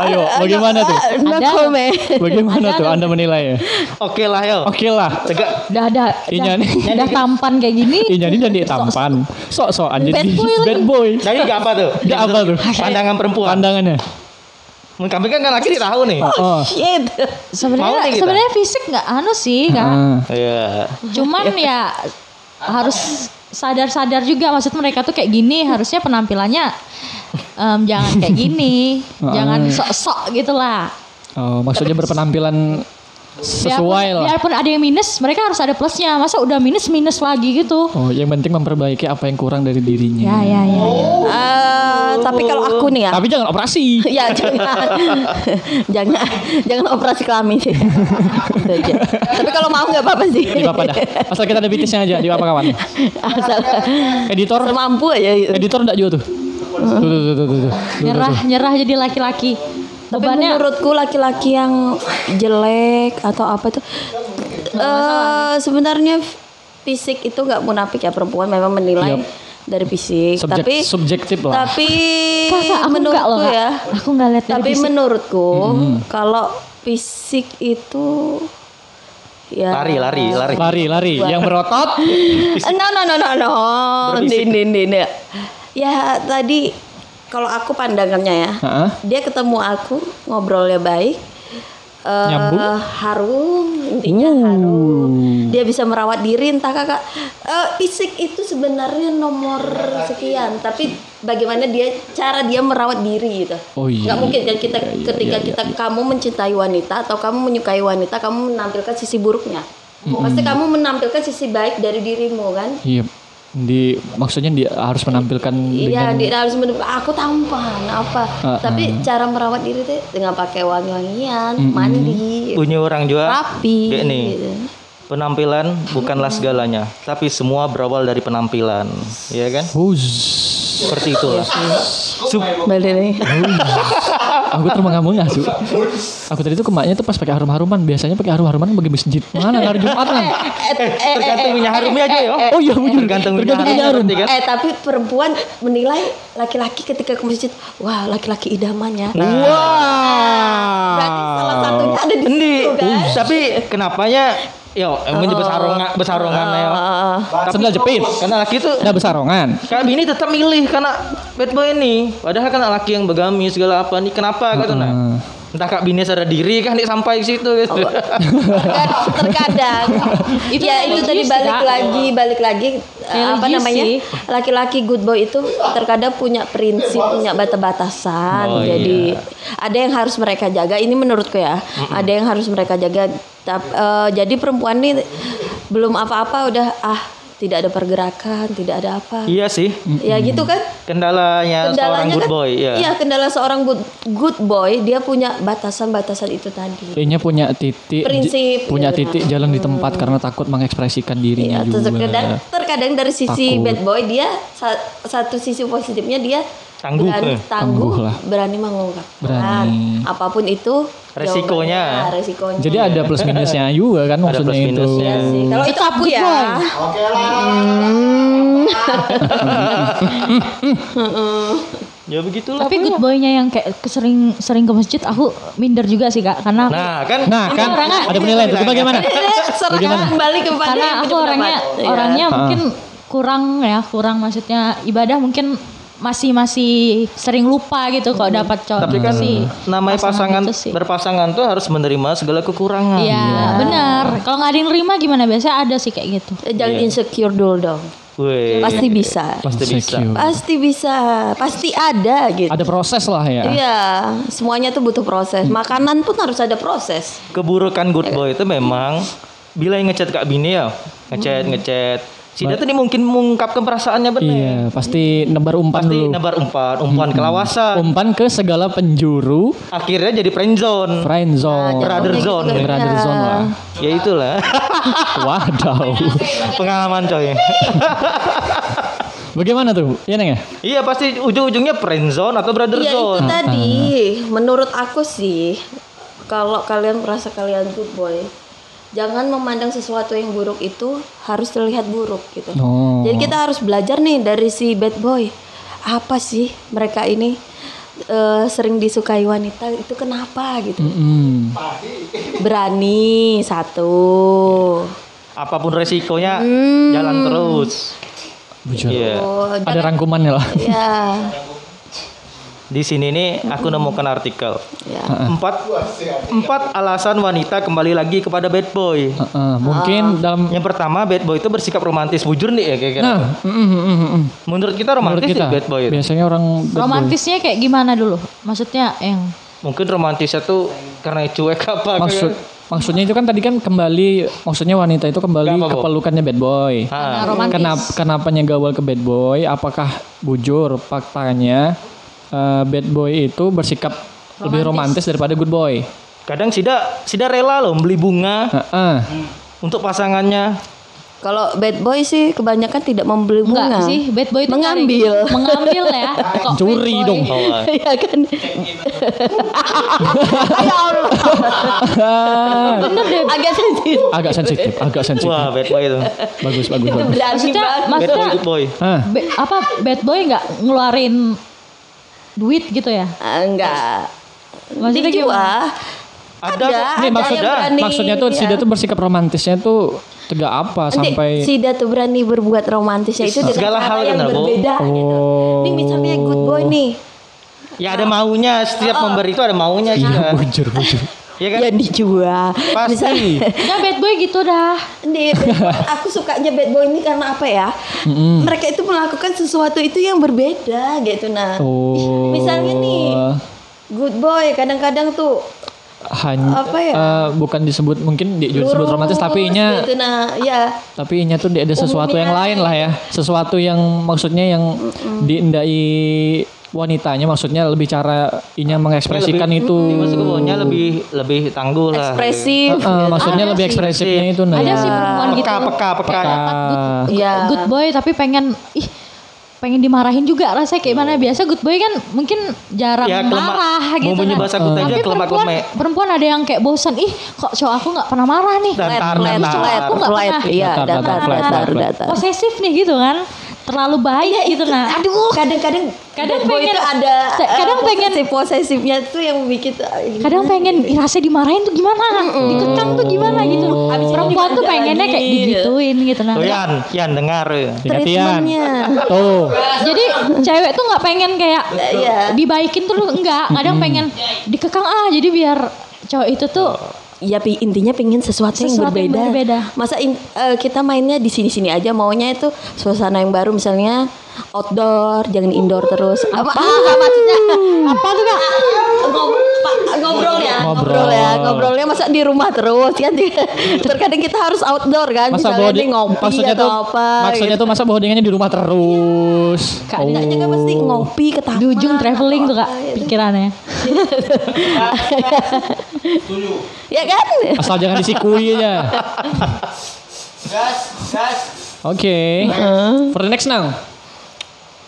Speaker 2: ayo bagaimana tuh
Speaker 1: No
Speaker 4: Ada.
Speaker 1: comment.
Speaker 2: bagaimana tuh anda menilai ya
Speaker 3: oke lah ya.
Speaker 2: oke lah
Speaker 3: Tegak
Speaker 4: Udah ada
Speaker 2: Iya
Speaker 4: udah,
Speaker 2: nih. Iya.
Speaker 4: udah tampan kayak gini.
Speaker 2: ini Ya, jadi dan tampan sok-sokan jadi
Speaker 4: Bad boy lagi.
Speaker 2: bad boy
Speaker 3: Nah, Jadi gak apa tuh?
Speaker 2: Gak apa tuh?
Speaker 3: (laughs) Pandangan perempuan.
Speaker 2: pandangannya
Speaker 3: Kami kan kan laki tahu nih.
Speaker 2: oh
Speaker 1: Shit.
Speaker 3: Mau nih
Speaker 4: Sebenarnya
Speaker 3: kita?
Speaker 4: sebenarnya fisik nggak anu sih, nggak
Speaker 2: Ah.
Speaker 3: Iya.
Speaker 2: (laughs)
Speaker 4: Cuman ya harus sadar-sadar juga maksud mereka tuh kayak gini harusnya penampilannya em, jangan kayak
Speaker 2: (laughs)
Speaker 4: gini, jangan
Speaker 2: Ah.
Speaker 4: sok-sok gitu lah.
Speaker 2: Oh, maksudnya berpenampilan sesuai
Speaker 4: biarpun,
Speaker 2: lah.
Speaker 4: Biarpun ada yang minus, mereka harus ada plusnya. Masa udah minus minus lagi gitu.
Speaker 2: Oh, yang penting memperbaiki apa yang kurang dari
Speaker 4: Ya
Speaker 2: dirinya.
Speaker 4: ya ya.
Speaker 1: Ah, tapi kalau aku nih ya,
Speaker 2: Tapi jangan
Speaker 1: (laughs)
Speaker 2: operasi.
Speaker 1: ya jangan jangan jangan operasi kelamin sih. Itu aja. Tapi kalau mau nggak apa-apa sih.
Speaker 2: Ini apa dah. Asal kita ada bitisnya aja, di apa kawan?
Speaker 1: (laughs) Asal
Speaker 2: Editor,
Speaker 1: semampu aja. gitu.
Speaker 2: editor enggak juga tuh. Tuh tuh tuh tuh, tuh. tuh.
Speaker 4: Nyerah nyerah jadi laki-laki.
Speaker 1: Tapi
Speaker 4: Bebannya
Speaker 1: menurutku laki-laki yang jelek atau apa itu eh sebenarnya fisik itu nggak munafik ya perempuan memang menilai
Speaker 2: Yap.
Speaker 1: dari fisik.
Speaker 2: Subjek-
Speaker 1: tapi
Speaker 2: subjektif lah.
Speaker 4: (laughs)
Speaker 1: Tapi
Speaker 4: Kakak, aku enggak loh,
Speaker 1: menurutku
Speaker 4: Kak.
Speaker 1: ya.
Speaker 4: Aku enggak lihat dari
Speaker 1: Tapi
Speaker 4: fisik. Mm-hmm.
Speaker 1: menurutku kalau fisik itu ya
Speaker 3: Lari, lari, lari.
Speaker 2: Lari, lari. Yang berotot
Speaker 1: No no no no no. Ini ini ini, ini. Ya tadi kalau aku pandangannya ya.
Speaker 2: Heeh.
Speaker 1: Dia ketemu aku ngobrolnya baik. eh,
Speaker 2: Nyambung.
Speaker 1: harum intinya harum dia bisa merawat diri entah kakak eh, fisik itu sebenarnya nomor sekian tapi bagaimana dia cara dia merawat diri gitu
Speaker 2: Oh
Speaker 1: nggak
Speaker 2: iya.
Speaker 1: mungkin kan
Speaker 3: Ya,
Speaker 1: kita ketika kita kamu mencintai wanita atau kamu menyukai wanita kamu menampilkan sisi buruknya pasti kamu menampilkan sisi baik dari dirimu kan
Speaker 2: Iya. Di maksudnya dia harus menampilkan
Speaker 1: Iya,
Speaker 2: dengan
Speaker 1: dia harus menem- aku tampan apa.
Speaker 2: Ah,
Speaker 1: Tapi cara merawat diri tuh dengan pakai wangi-wangian, mandi,
Speaker 3: Punya orang juga
Speaker 1: rapi.
Speaker 3: Kayak ini.
Speaker 1: gitu.
Speaker 3: penampilan bukanlah segalanya, tapi semua berawal dari penampilan, ya kan?
Speaker 2: Hus.
Speaker 3: Seperti itulah. Sup-
Speaker 1: Balik nih.
Speaker 2: Aku termengamungah ya, Su. Aku tadi tuh kemaknya tuh pas pakai harum-haruman. Biasanya pakai harum-haruman kan bagi masjid. Mana hari Jumat kan?
Speaker 1: Eh,
Speaker 3: (laughs) tergantung minyak harumnya aja ya.
Speaker 2: Oh iya, bener.
Speaker 3: Tergantung minyak
Speaker 2: Tergantung
Speaker 3: harumnya
Speaker 2: minyak harum.
Speaker 3: berarti kan.
Speaker 1: Eh tapi perempuan menilai laki-laki ketika ke masjid, wah laki-laki idamannya.
Speaker 3: Nah.
Speaker 2: Wow.
Speaker 1: Berarti salah satunya ada di
Speaker 3: Endi,
Speaker 1: situ kan.
Speaker 3: uh, tapi kenapanya Yo, emang besarongan, besarongan ya.
Speaker 2: Sendal jepit.
Speaker 3: Karena laki itu
Speaker 2: Nah besarongan.
Speaker 3: Kak Bini tetap milih karena bad boy ini. Padahal kan laki yang begami segala apa nih. Kenapa kata nah? Entah Kak Bini sadar diri kan dia sampai ke situ gitu.
Speaker 1: Terkadang- terkadang
Speaker 4: (laughs) Itu
Speaker 1: ya itu
Speaker 4: religius
Speaker 1: tadi
Speaker 4: sih,
Speaker 1: balik
Speaker 4: Kak.
Speaker 1: lagi balik lagi eh, apa
Speaker 4: Religius
Speaker 1: namanya
Speaker 4: sih.
Speaker 1: laki-laki good boy itu terkadang punya prinsip punya batasan
Speaker 3: Oh,
Speaker 1: jadi ada yang harus mereka jaga ini menurutku ya ada yang harus mereka jaga Tap- eh, jadi perempuan nih belum apa-apa udah ah tidak ada pergerakan, tidak ada apa.
Speaker 3: (laughs) Iya sih.
Speaker 1: Ya gitu kan?
Speaker 3: Kendalanya, seorang
Speaker 1: Kendalanya
Speaker 3: good
Speaker 1: kan
Speaker 3: boy, ya.
Speaker 1: Iya, kendala seorang good, good boy dia punya batasan-batasan itu tadi.
Speaker 2: Kayaknya punya titik
Speaker 1: Prinsip,
Speaker 2: punya
Speaker 1: gitu.
Speaker 2: titik jalan di tempat karena takut mengekspresikan
Speaker 1: Iya,
Speaker 2: dirinya juga.
Speaker 1: terkadang, terkadang dari sisi
Speaker 2: Takut.
Speaker 1: bad boy dia sa- satu sisi positifnya dia
Speaker 3: Tangguh,
Speaker 1: berani,
Speaker 3: eh.
Speaker 1: tangguh,
Speaker 2: Tangguh lah.
Speaker 1: berani mengungkapkan
Speaker 2: Berani.
Speaker 1: apapun itu jawabannya,
Speaker 3: Resikonya.
Speaker 1: resikonya.
Speaker 2: Jadi ada plus minusnya juga kan maksudnya
Speaker 3: plus
Speaker 2: itu.
Speaker 3: minusnya.
Speaker 1: Iya sih. Kalau itu aku ya.
Speaker 3: Ya begitulah.
Speaker 4: Tapi good boy-nya yang kayak sering sering ke masjid aku minder juga sih Kak karena aku-
Speaker 3: Nah, kan
Speaker 2: Nah kan ada penilaian itu bagaimana?
Speaker 1: (laughs) Serahkan kembali kepada
Speaker 4: karena
Speaker 1: yang
Speaker 4: aku
Speaker 1: punya
Speaker 4: orangnya
Speaker 1: pendapat. Iya.
Speaker 4: orangnya mungkin kurang ya kurang maksudnya ibadah mungkin masih masih sering lupa gitu
Speaker 1: Hmm.
Speaker 4: kok dapat cowok
Speaker 3: tapi kan
Speaker 4: sih
Speaker 3: namanya pasangan,
Speaker 4: itu sih.
Speaker 3: berpasangan tuh harus menerima segala kekurangan.
Speaker 4: Iya benar kalau nggak ada yang nerima gimana biasanya ada sih kayak gitu
Speaker 1: Eh, Jangan insecure dulu dong.
Speaker 3: Weh.
Speaker 1: Pasti bisa.
Speaker 2: Iya. Pasti
Speaker 3: bisa.
Speaker 1: Pasti bisa. Pasti ada gitu.
Speaker 2: Ada proses lah ya.
Speaker 1: Iya, semuanya tuh butuh proses. Makanan pun harus ada proses.
Speaker 3: Keburukan good boy itu memang bila yang ngechat Kak Bini ya, ngechat ngechat. Si dia tuh ini mungkin mengungkapkan perasaannya benar.
Speaker 2: Iya, pasti nebar umpan
Speaker 3: Pasti
Speaker 2: dulu.
Speaker 3: nebar umpan, umpan kelawasan.
Speaker 2: Umpan ke segala penjuru
Speaker 3: Akhirnya jadi friend zone.
Speaker 2: friend zone.
Speaker 3: Brother
Speaker 1: Jatuhnya
Speaker 3: zone.
Speaker 1: gitu kan.
Speaker 2: Brother
Speaker 1: Iya.
Speaker 2: zone lah.
Speaker 3: Ya itulah (laughs)
Speaker 2: Wadaw.
Speaker 3: pengalaman coy.
Speaker 2: Bagaimana tuh? Iya Neng ya?
Speaker 3: iya pasti ujung-ujungnya friend zone atau brother
Speaker 1: Iya itu
Speaker 3: zone.
Speaker 1: tadi. Menurut aku sih, kalau kalian merasa kalian good boy, jangan memandang sesuatu yang buruk itu harus terlihat buruk gitu.
Speaker 2: Oh.
Speaker 1: Jadi kita harus belajar nih dari si bad boy. Apa sih mereka ini eh, sering disukai wanita itu kenapa gitu?
Speaker 2: Hmm.
Speaker 1: Berani satu.
Speaker 3: Apapun resikonya
Speaker 1: Hmm.
Speaker 3: jalan terus.
Speaker 2: Bujur.
Speaker 3: Iya.
Speaker 1: Oh,
Speaker 2: Ada rangkumannya lah.
Speaker 1: ya,
Speaker 3: Di sini nih aku nemukan artikel.
Speaker 1: ya.
Speaker 3: Empat, empat alasan wanita kembali lagi kepada bad boy.
Speaker 2: Heeh, mungkin dalam
Speaker 3: Yang pertama bad boy itu bersikap romantis bujur nih ya kira-kira.
Speaker 2: Nah, mm, mm, mm, mm, mm.
Speaker 3: Menurut kita
Speaker 2: menurut
Speaker 3: romantis
Speaker 2: kita
Speaker 3: sih bad boy. itu.
Speaker 2: biasanya orang bad boy.
Speaker 4: romantisnya kayak gimana dulu maksudnya yang
Speaker 3: Mungkin romantisnya tuh karena cuek apa
Speaker 2: maksud
Speaker 3: kayak- gitu.
Speaker 2: maksudnya itu kan tadi kan kembali maksudnya wanita itu kembali
Speaker 3: Kenapa, Bob?
Speaker 2: kepelukannya bad boy.
Speaker 3: Ah,
Speaker 4: Nah, romantis
Speaker 2: Kenapa kenapanya gaul ke bad boy? Apakah bujur faktanya eh, bad boy itu bersikap lebih romantis daripada good boy?
Speaker 3: kadang sida sida rela loh beli bunga
Speaker 2: Heeh. (laughs)
Speaker 3: untuk pasangannya.
Speaker 1: Kalau bad boy sih kebanyakan tidak membeli
Speaker 4: enggak
Speaker 1: bunga.
Speaker 4: sih bad boy itu
Speaker 1: Mengambil.
Speaker 4: nyari- (laughs) mengambil
Speaker 1: (laughs)
Speaker 4: ya kok
Speaker 2: Curi
Speaker 4: bad boy.
Speaker 2: dong.
Speaker 3: Oh, ah.
Speaker 1: Iya kan? ya Allah. Agak sensitif.
Speaker 2: agak sensitif, agak sensitif.
Speaker 3: (laughs) Wah, bad boy itu.
Speaker 2: Bagus, bagus, bagus.
Speaker 1: Berani
Speaker 4: maksudnya
Speaker 1: banget.
Speaker 3: Bad boy,
Speaker 4: maksudnya
Speaker 3: good boy.
Speaker 2: Hah,
Speaker 4: ba- apa bad boy nggak ngeluarin duit gitu ya
Speaker 1: Ah, Enggak.
Speaker 4: Maksudnya
Speaker 1: Dikit
Speaker 4: gimana?
Speaker 1: lah. Ada,
Speaker 3: Ada. Nih,
Speaker 1: ada
Speaker 3: maksud-
Speaker 1: yang berani.
Speaker 2: maksudnya tuh Sida tuh bersikap romantisnya tuh tegak
Speaker 1: ya.
Speaker 2: apa
Speaker 1: Nanti
Speaker 2: sampai
Speaker 1: Sida tuh berani berbuat romantisnya itu dengan
Speaker 3: Segala
Speaker 1: cara
Speaker 3: hal
Speaker 1: yang
Speaker 3: kan, Bu?
Speaker 1: berbeda gitu.
Speaker 2: Oh.
Speaker 1: Ini misalnya good boy nih.
Speaker 3: Ya ada maunya, setiap
Speaker 4: Oh.
Speaker 3: memberi itu ada maunya
Speaker 2: Iya,
Speaker 3: juga.
Speaker 2: bujur, bujur.
Speaker 3: Iya kan?
Speaker 1: Yang ya dijual.
Speaker 3: Pasti.
Speaker 4: Enggak bad boy gitu dah
Speaker 1: (laughs) Nih, bad boy- aku sukanya bad boy ini karena apa ya? Mereka itu melakukan sesuatu itu yang berbeda gitu nah.
Speaker 2: Oh.
Speaker 1: Misalnya nih, good boy kadang-kadang tuh
Speaker 2: hanya
Speaker 1: Apa ya?
Speaker 2: eh, bukan disebut mungkin di- disebut
Speaker 1: lurus,
Speaker 2: romantis tapi inya
Speaker 1: gitu nah, ya.
Speaker 2: tapi inya tuh dia ada sesuatu yang lain lah ya sesuatu yang maksudnya yang diindai wanitanya maksudnya lebih cara inya mengekspresikan itu
Speaker 3: Maksud gue maunya lebih lebih tangguh lah.
Speaker 1: ekspresif
Speaker 2: Eh, maksudnya lebih ekspresifnya itu nah
Speaker 4: ada sih perempuan gitu Iya.
Speaker 3: Peka, peka, peka.
Speaker 2: Ah,
Speaker 1: ya
Speaker 4: good boy tapi pengen ih pengen dimarahin juga rasanya kayak mana biasa good boy kan mungkin jarang
Speaker 3: Ya, kelemah-
Speaker 4: marah gitu
Speaker 3: bumbunya
Speaker 4: kan.
Speaker 3: bahasa kutanya
Speaker 4: tapi
Speaker 3: kelemah-
Speaker 4: perempuan
Speaker 3: kelemek.
Speaker 4: perempuan ada yang kayak bosan ih kok cowok aku nggak pernah marah nih
Speaker 3: Dan- Datar,
Speaker 1: Flat,
Speaker 3: datar.
Speaker 1: flat,
Speaker 4: Aku nggak
Speaker 1: flat,
Speaker 4: pernah.
Speaker 1: iya,
Speaker 2: Datar,
Speaker 1: datar,
Speaker 2: datar,
Speaker 1: datar,
Speaker 2: flat,
Speaker 1: datar.
Speaker 4: posesif nih gitu kan terlalu baik gitu nah
Speaker 1: Aduh, kadang-kadang
Speaker 4: Kadang
Speaker 1: bad boy
Speaker 4: pengen-
Speaker 1: itu ada
Speaker 4: te- kadang pengen-
Speaker 1: posesif posesifnya tuh yang bikin eh,
Speaker 4: kadang pengen ih, rasanya dimarahin tuh gimana dikekang tuh gimana gitu
Speaker 1: Habis itu
Speaker 4: perempuan tuh
Speaker 1: dimarahin
Speaker 4: pengennya
Speaker 1: lagi.
Speaker 4: kayak digituin gitu nah
Speaker 3: Tuh Yan, Yan dengar. ya.
Speaker 2: ingat Ian.
Speaker 1: treatmentnya.
Speaker 2: tuh
Speaker 4: Jadi cewek tuh nggak pengen kayak
Speaker 1: Iya.
Speaker 4: dibaikin tuh enggak, kadang pengen dikekang ah jadi biar cowok itu tuh
Speaker 1: Ya pi- intinya pengen sesuatu, yang,
Speaker 4: Sesuatu yang
Speaker 1: berbeda.
Speaker 4: berbeda.
Speaker 1: Masa in- eh, kita mainnya di sini-sini aja maunya itu suasana yang baru misalnya outdoor, jangan indoor terus. Apa? Ah, nggak maksudnya.
Speaker 4: apa tuh kak?
Speaker 1: ngobrol Pak, ngobrol ya
Speaker 2: Ngobrol.
Speaker 1: ngobrol ya ngobrolnya masa di rumah terus kan terkadang kita harus outdoor kan
Speaker 2: Masa
Speaker 1: misalnya
Speaker 2: body,
Speaker 1: nih ngopi
Speaker 2: maksudnya
Speaker 1: atau
Speaker 2: tuh,
Speaker 1: apa
Speaker 2: maksudnya Oh.
Speaker 1: gitu.
Speaker 2: tuh masa bohongannya di rumah terus.
Speaker 1: Kak Dina juga pasti ngopi ke taman
Speaker 4: Di ujung
Speaker 1: atau
Speaker 4: traveling tuh kak
Speaker 1: apa gitu.
Speaker 4: pikirannya.
Speaker 1: ya kan
Speaker 2: Asal jangan disikui aja. Oke.
Speaker 4: Uh-huh.
Speaker 2: For the next now.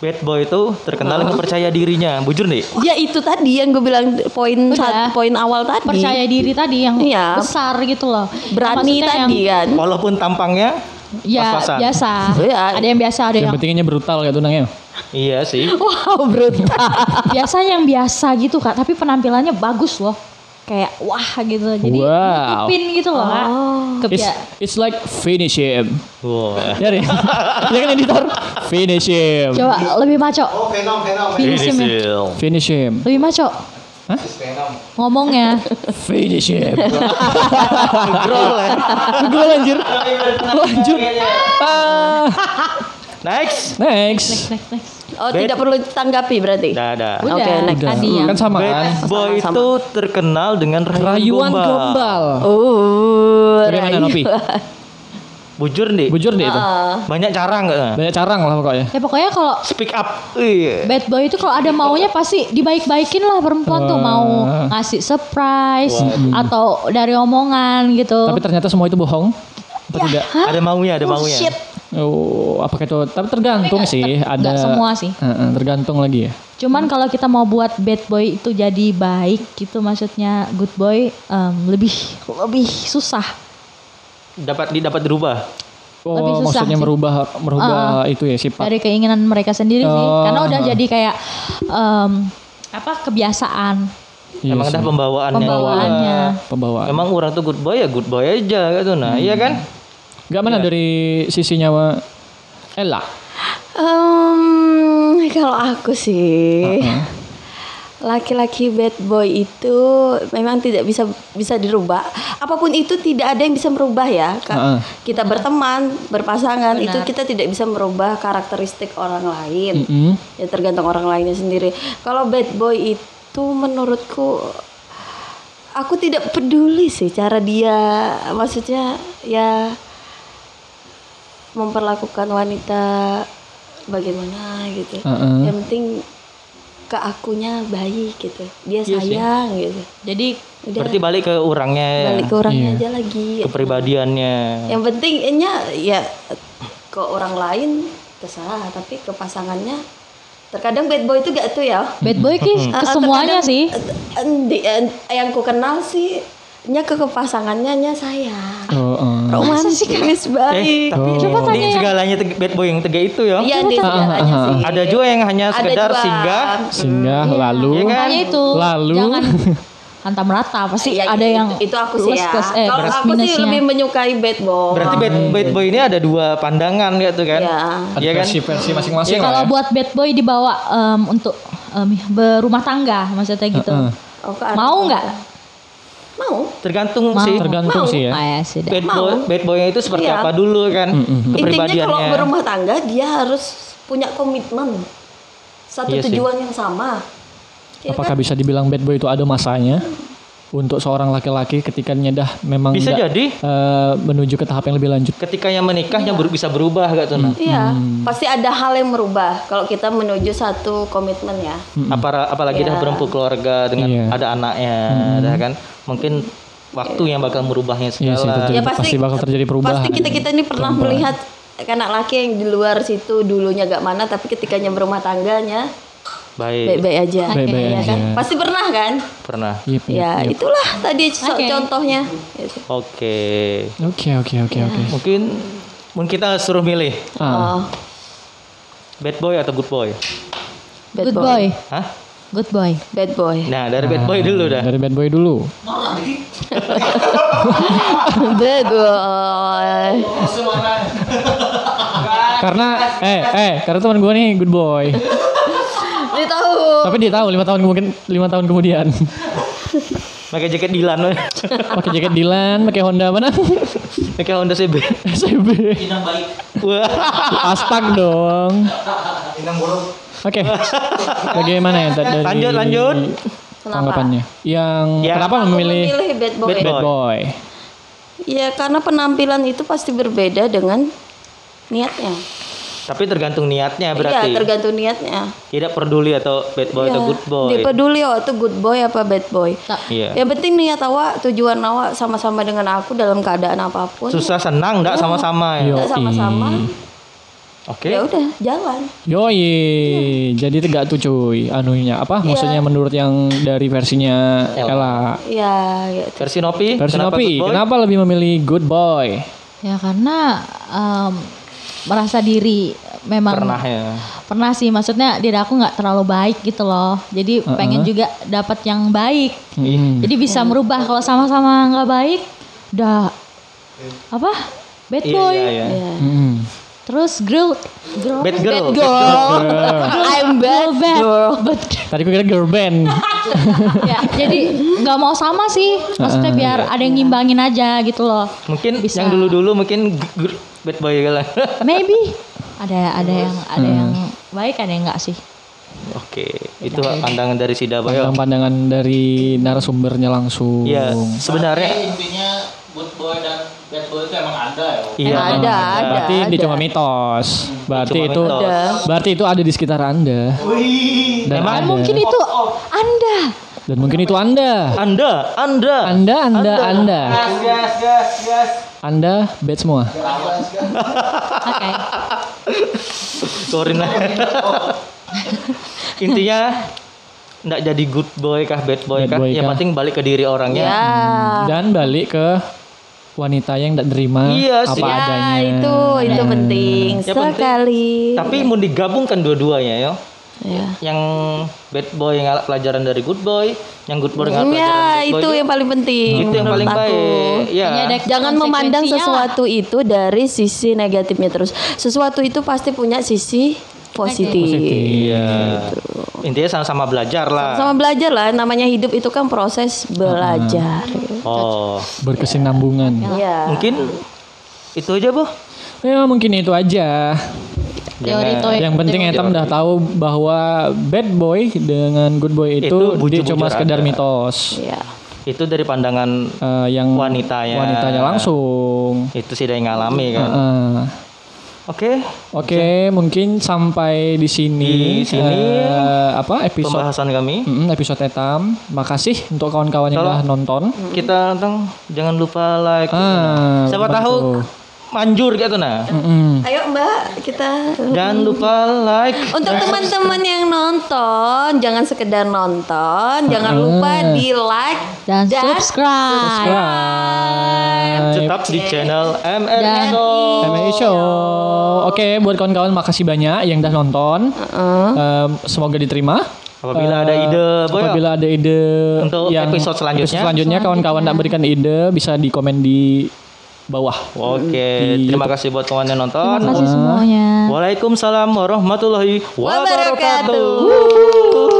Speaker 3: Bad boy itu terkenal
Speaker 4: Oh.
Speaker 3: dengan percaya dirinya. Bujur nih.
Speaker 1: ya itu tadi yang gue bilang poin
Speaker 4: Udah.
Speaker 1: saat poin awal tadi
Speaker 4: Percaya diri tadi yang
Speaker 1: Iya.
Speaker 4: besar gitu loh.
Speaker 1: berani
Speaker 4: Maksudnya
Speaker 1: tadi kan
Speaker 4: yang-
Speaker 1: (laughs)
Speaker 3: Walaupun tampangnya
Speaker 4: Ya
Speaker 3: pas-pasan.
Speaker 4: biasa.
Speaker 1: Iya.
Speaker 4: Ada yang biasa, ada
Speaker 2: Yang
Speaker 4: yang
Speaker 2: pentingnya brutal ya tunangnya.
Speaker 3: Iya sih.
Speaker 1: wow brutal
Speaker 4: (laughs) biasa yang biasa gitu kak. Tapi penampilannya bagus loh. Kayak wah gitu. Jadi
Speaker 2: Wow.
Speaker 4: nutupin gitu loh kak.
Speaker 1: Oh.
Speaker 4: Kepi-
Speaker 2: It's, it's like finish him.
Speaker 3: Wah.
Speaker 2: Ya deh.
Speaker 4: (laughs)
Speaker 2: ya kan editor? Finish him.
Speaker 4: Coba lebih maco. Finish him ya.
Speaker 2: Finish him.
Speaker 4: Lebih maco. Ngomongnya.
Speaker 2: Finish him.
Speaker 3: Bro, lah.
Speaker 2: Gue lanjut. Lanjut. Ah.
Speaker 3: Next.
Speaker 2: Next.
Speaker 4: next, next.
Speaker 1: oh
Speaker 3: Bet.
Speaker 1: tidak perlu tanggapi berarti
Speaker 2: Nah.
Speaker 3: Dadah.
Speaker 4: Udah,
Speaker 1: Oke, next.
Speaker 2: Udah.
Speaker 4: tadi ya. yang
Speaker 2: Kan sama kan?
Speaker 3: Bad boy
Speaker 1: Sama-sama.
Speaker 3: itu terkenal dengan
Speaker 2: Rayuan
Speaker 3: rayuan gombal.
Speaker 2: gombal.
Speaker 1: oh
Speaker 2: Bagaimana Nopi?
Speaker 3: Bujur nih.
Speaker 2: Bujur deh itu.
Speaker 4: Oh.
Speaker 3: Banyak cara nggak?
Speaker 2: Banyak carang lah pokoknya.
Speaker 4: Ya pokoknya kalau
Speaker 3: Speak up. Iya.
Speaker 4: bad boy itu kalau ada maunya pasti dibaik-baikin lah perempuan tuh mau ngasih surprise atau dari omongan gitu.
Speaker 2: iya. Tapi ternyata semua itu bohong. Apa
Speaker 4: Ya.
Speaker 2: tidak?
Speaker 3: Ada maunya, ada maunya.
Speaker 1: Bullshit.
Speaker 2: Oh, apakah itu? Tapi tergantung sih. Ada
Speaker 4: nggak semua sih.
Speaker 2: Heeh, tergantung lagi ya.
Speaker 4: Cuman kalau kita mau buat bad boy itu jadi baik gitu maksudnya good boy em, lebih lebih susah.
Speaker 3: Dapat di dapat dirubah.
Speaker 2: Oh,
Speaker 4: Lebih susah
Speaker 2: maksudnya
Speaker 4: sih.
Speaker 2: merubah merubah itu ya sifat.
Speaker 4: dari keinginan mereka sendiri sih
Speaker 2: Oh.
Speaker 4: karena udah jadi kayak em, apa kebiasaan
Speaker 2: Iya
Speaker 3: Emang
Speaker 2: sih.
Speaker 3: dah pembawaannya.
Speaker 4: pembawaannya
Speaker 2: pembawaan.
Speaker 3: Emang orang tuh good boy ya good boy aja gitu nah. Iya kan?
Speaker 2: Gak mana
Speaker 3: Iya.
Speaker 2: dari sisi nyawa Ella.
Speaker 1: (laughs) Em, kalau aku sih laki-laki bad boy itu memang tidak bisa bisa dirubah. Apapun itu tidak ada yang bisa merubah ya. Ka-
Speaker 2: Heeh.
Speaker 1: Kita berteman, berpasangan itu kita tidak bisa merubah karakteristik orang lain.
Speaker 2: Mm-mm.
Speaker 1: Ya tergantung orang lainnya sendiri. Kalau bad boy itu menurutku aku tidak peduli sih cara dia maksudnya ya memperlakukan wanita bagaimana gitu.
Speaker 2: Heeh.
Speaker 1: Yang penting ke akunya baik gitu. Dia sayang gitu.
Speaker 4: jadi
Speaker 1: Udah
Speaker 3: Berarti balik ke orangnya ya.
Speaker 1: balik ke orangnya aja lagi.
Speaker 3: kepribadiannya.
Speaker 1: Yang pentingnya ya ke orang lain terserah tapi ke pasangannya terkadang bad boy itu gak tuh ya.
Speaker 4: bad boy ki
Speaker 3: Hmm.
Speaker 4: ke
Speaker 1: Ah,
Speaker 4: semuanya
Speaker 1: terkadang,
Speaker 4: sih
Speaker 1: eh, endi- eh, yang ku kenal sih nya ke ke pasangannya nya
Speaker 4: Ah.
Speaker 1: sayang.
Speaker 2: Oh, eh.
Speaker 1: Romantis baik.
Speaker 3: tapi Eh, oh. di
Speaker 4: Coba tanya yang-
Speaker 3: segalanya teg- bad boy yang tega itu
Speaker 1: ya?
Speaker 3: ya.
Speaker 1: Iya
Speaker 4: Ah,
Speaker 1: di segalanya sih.
Speaker 3: Ada juga yang hanya
Speaker 1: Ada
Speaker 3: sekedar
Speaker 1: juga.
Speaker 3: singgah.
Speaker 2: Sehingga lalu
Speaker 3: Iya kan?
Speaker 4: makanya itu
Speaker 2: Lalu?
Speaker 4: jangan
Speaker 3: (laughs)
Speaker 4: hantam rata pasti
Speaker 1: Ya,
Speaker 4: ada
Speaker 1: itu-
Speaker 4: yang
Speaker 1: itu aku sih
Speaker 4: plus
Speaker 1: ya.
Speaker 4: plus, eh,
Speaker 1: Kalau
Speaker 4: plus
Speaker 1: aku sih
Speaker 4: minusnya.
Speaker 1: lebih
Speaker 3: Iya,
Speaker 1: menyukai bad boy.
Speaker 3: Berarti bad,
Speaker 2: Hmm.
Speaker 3: bad boy ini ada dua pandangan gitu kan?
Speaker 1: Iya.
Speaker 3: Iya kan?
Speaker 2: versi masing-masing
Speaker 4: Iya, kalau
Speaker 2: lah ya.
Speaker 4: buat bad boy dibawa em, untuk em, berumah tangga maksudnya gitu
Speaker 2: Heeh.
Speaker 1: Oh, ke arah-
Speaker 4: mau nggak
Speaker 1: Mau.
Speaker 3: Tergantung
Speaker 4: Mau.
Speaker 3: sih.
Speaker 2: Tergantung
Speaker 1: Mau.
Speaker 3: iya.
Speaker 2: sih ya.
Speaker 4: Ah, ya sudah
Speaker 3: Bad boy, bad boynya itu seperti
Speaker 1: Iya.
Speaker 3: apa dulu kan?
Speaker 2: Hmm,
Speaker 1: Intinya kalau
Speaker 3: Kepribadiannya.
Speaker 1: berumah tangga dia harus punya komitmen. Satu
Speaker 3: Iya sih.
Speaker 1: tujuan yang sama. Ya
Speaker 2: Apakah bisa dibilang bad boy itu ada masanya? Untuk seorang laki-laki ketika nyedah memang
Speaker 3: Bisa
Speaker 2: nggak,
Speaker 3: jadi.
Speaker 2: eh, menuju ke tahap yang lebih lanjut.
Speaker 3: Ketika yang menikahnya baru bisa berubah gak tuh? Nah?
Speaker 1: Iya, pasti ada hal yang merubah kalau kita menuju satu komitmen ya.
Speaker 3: Apara- apalagi
Speaker 1: Iya.
Speaker 3: dah berempu keluarga dengan
Speaker 2: Hmm, Iya. Hmm.
Speaker 3: ada anaknya, dah kan? Mungkin waktu yang bakal merubahnya
Speaker 2: Iya
Speaker 3: segala.
Speaker 2: sih, tentu.
Speaker 1: Ya
Speaker 2: Pasti bakal terjadi perubahan.
Speaker 1: Pasti kita kita ini pernah melihat anak laki yang di luar situ dulunya gak mana, tapi ketikanya berumah tangganya
Speaker 3: Baik,
Speaker 1: baik-baik aja.
Speaker 2: Baik-baik
Speaker 1: Ya kan?
Speaker 2: aja. Iya,
Speaker 1: Pasti pernah kan?
Speaker 3: pernah.
Speaker 2: Yep, yep,
Speaker 1: Ya
Speaker 2: yep.
Speaker 1: itulah tadi so-
Speaker 4: Oke.
Speaker 1: contohnya. Gitu.
Speaker 3: Oke,
Speaker 2: Oke, oke, oke, oke.
Speaker 3: mungkin mungkin kita suruh milih
Speaker 1: Oh,
Speaker 2: Ah,
Speaker 3: bad boy atau good boy?
Speaker 1: bad
Speaker 4: good
Speaker 1: boy.
Speaker 4: boy
Speaker 3: Hah?
Speaker 4: good boy
Speaker 1: Bad
Speaker 4: (laughs)
Speaker 1: boy.
Speaker 3: Nah dari bad boy dulu dah.
Speaker 2: dari bad boy dulu.
Speaker 1: bad boy.
Speaker 2: Karena eh eh karena teman gue nih good boy.
Speaker 1: Dia tahu.
Speaker 2: Tapi dia tahu lima tahun kemudian lima tahun kemudian (laughs)
Speaker 3: Pakai jaket Dilan, weh.
Speaker 2: pakai jaket Dilan, pakai Honda mana? (laughs)
Speaker 3: pakai Honda CB.
Speaker 2: SB.
Speaker 3: Wah,
Speaker 2: Astag dong. Oke. Bagaimana ya tadi?
Speaker 3: Lanjut, lanjut.
Speaker 1: Kenapa?
Speaker 2: tanggapannya? Yang
Speaker 3: Ya,
Speaker 2: kenapa memilih
Speaker 1: Memilih bad boy.
Speaker 3: Bad boy.
Speaker 2: bad boy?
Speaker 1: Ya karena penampilan itu pasti berbeda dengan niatnya.
Speaker 3: Tapi tergantung
Speaker 2: Ya,
Speaker 1: Iya,
Speaker 3: niatnya berarti.
Speaker 1: tergantung niatnya.
Speaker 3: Tidak peduli atau bad boy atau
Speaker 1: Iya,
Speaker 3: good boy.
Speaker 1: Dia peduli oh itu good boy apa bad boy.
Speaker 3: Iya.
Speaker 1: Yang penting niat awak, tujuan awak sama-sama dengan aku dalam keadaan apapun.
Speaker 3: Susah senang enggak sama-sama ya.
Speaker 2: Yo.
Speaker 1: Kita sama-sama.
Speaker 3: Oke.
Speaker 1: Ya udah, jalan.
Speaker 2: Yoi, jadi tegak tuh cuy anunya apa?
Speaker 3: Iya.
Speaker 2: Maksudnya menurut yang dari versinya
Speaker 3: Ella.
Speaker 2: Ella.
Speaker 1: Ya, ya.
Speaker 3: Versi Nopi,
Speaker 2: Versi
Speaker 3: Eh, kenapa
Speaker 2: Nopi,
Speaker 3: good boy?
Speaker 2: kenapa lebih memilih good boy?
Speaker 4: Ya karena em, merasa diri memang
Speaker 3: Pernah ya.
Speaker 4: Pernah sih maksudnya diri aku nggak terlalu baik gitu loh. Jadi pengen juga dapat yang baik.
Speaker 3: Iya.
Speaker 2: Hmm.
Speaker 4: Jadi bisa
Speaker 1: Iya,
Speaker 4: merubah kalau sama-sama nggak baik udah
Speaker 1: Iya.
Speaker 4: apa? Bad
Speaker 3: Iya,
Speaker 4: boy.
Speaker 3: iya, iya.
Speaker 2: Hmm.
Speaker 4: Terus girl girl
Speaker 3: Bad girl.
Speaker 1: I'm
Speaker 4: girl
Speaker 1: bad.
Speaker 4: bad. Bad
Speaker 2: Tadi gue kira girl band.
Speaker 4: (laughs) ya, jadi nggak mau sama sih. Maksudnya biar ada yang ngimbangin aja gitu loh.
Speaker 3: Mungkin
Speaker 4: Bisa.
Speaker 3: yang dulu-dulu mungkin g- g- bad boy gitu lah. (laughs)
Speaker 4: Maybe ada ada yang ada yang baik ada yang nggak sih.
Speaker 3: Oke, itu pandangan dari Sida Bayo.
Speaker 2: Tentang pandangan dari narasumbernya langsung.
Speaker 3: Iya, sebenarnya
Speaker 5: intinya good boy dan bad boy itu emang ada ya
Speaker 3: iya.
Speaker 1: Emang ada, ada.
Speaker 2: Nah, berarti
Speaker 1: ada.
Speaker 2: ini cuma mitos. Berarti
Speaker 3: Cuma
Speaker 2: itu
Speaker 3: mitos.
Speaker 1: Ada.
Speaker 2: berarti itu ada di sekitar Anda. Dan
Speaker 4: Dan
Speaker 2: Anda.
Speaker 4: mungkin itu Anda.
Speaker 2: dan mungkin itu Anda.
Speaker 3: Anda, Anda.
Speaker 2: Anda, Anda, Anda.
Speaker 5: gas gas gas
Speaker 2: Anda bad semua.
Speaker 4: Oke.
Speaker 3: Sorry lah. Intinya nggak jadi good boy kah bad boy
Speaker 2: Bad
Speaker 3: kah?
Speaker 2: boy
Speaker 3: Yang
Speaker 2: kah?
Speaker 3: penting balik ke diri orangnya.
Speaker 1: Ya.
Speaker 2: Dan balik ke wanita yang tidak terima
Speaker 3: Iya sih.
Speaker 2: apa
Speaker 1: Ya,
Speaker 2: adanya.
Speaker 1: itu itu penting
Speaker 3: Ya, penting.
Speaker 1: sekali.
Speaker 3: Tapi mau digabungkan dua-duanya ya.
Speaker 1: ya.
Speaker 3: Yang bad boy yang ngalap pelajaran dari good boy, yang good boy
Speaker 1: Ya,
Speaker 3: yang ngalap pelajaran dari
Speaker 1: itu
Speaker 3: good boy.
Speaker 1: yang paling penting.
Speaker 3: itu yang paling
Speaker 1: menurut aku.
Speaker 3: baik. Ya.
Speaker 4: Hanya ada
Speaker 1: Jangan memandang
Speaker 4: konsekuensinya lah.
Speaker 1: sesuatu itu dari sisi negatifnya terus. Sesuatu itu pasti punya sisi positif.
Speaker 2: Ya.
Speaker 3: Iya. Intinya sama-sama belajar lah.
Speaker 1: Sama belajar lah, namanya hidup itu kan proses belajar.
Speaker 3: Oh,
Speaker 2: Berkesinambungan.
Speaker 1: Iya.
Speaker 3: mungkin itu aja, Bu.
Speaker 2: Ya mungkin itu aja.
Speaker 4: Teori
Speaker 3: eh,
Speaker 4: teori.
Speaker 2: Yang penting Etam udah tahu bahwa bad boy dengan good boy itu,
Speaker 3: Itu
Speaker 2: dia
Speaker 3: bujur-bujur
Speaker 2: cuma sekedar
Speaker 3: aja.
Speaker 2: mitos
Speaker 1: Iya.
Speaker 3: Itu dari pandangan
Speaker 2: Eh, yang
Speaker 3: Wanitanya.
Speaker 2: wanitanya langsung.
Speaker 3: itu sih yang ngalami kan.
Speaker 2: Eh,
Speaker 3: Oke,
Speaker 2: Oke, mungkin sampai di sini.
Speaker 3: Di sini.
Speaker 2: eh, apa episode
Speaker 3: pembahasan kami.
Speaker 2: Mm, episode Etam. Makasih untuk kawan-kawan yang
Speaker 3: Tolong.
Speaker 2: udah nonton.
Speaker 3: Kita tentang jangan lupa like.
Speaker 2: Ah,
Speaker 3: Siapa
Speaker 2: bener
Speaker 3: tahu
Speaker 2: tuh.
Speaker 3: manjur gitu nah.
Speaker 2: Mm-mm.
Speaker 1: Ayo Mbak, kita
Speaker 3: Jangan lupa like.
Speaker 1: Untuk teman-teman yang nonton, jangan sekedar nonton, jangan lupa di like
Speaker 4: dan subscribe.
Speaker 2: Subscribe.
Speaker 3: Tetap di channel MRSO.
Speaker 2: MRI Show. Oke, buat kawan-kawan makasih banyak yang udah nonton.
Speaker 4: Uh-uh.
Speaker 2: Em, semoga diterima.
Speaker 3: Apabila ada ide, Boyo.
Speaker 2: Ah, apabila ada ide
Speaker 3: Untuk episode selanjutnya.
Speaker 2: episode selanjutnya kawan-kawan tak berikan ide bisa di komen di bawah.
Speaker 3: Oke,
Speaker 2: Di
Speaker 3: terima kasih buat kawan yang nonton.
Speaker 4: Terima kasih semuanya.
Speaker 3: Waalaikumsalam warahmatullahi wabarakatuh.
Speaker 1: wabarakatuh.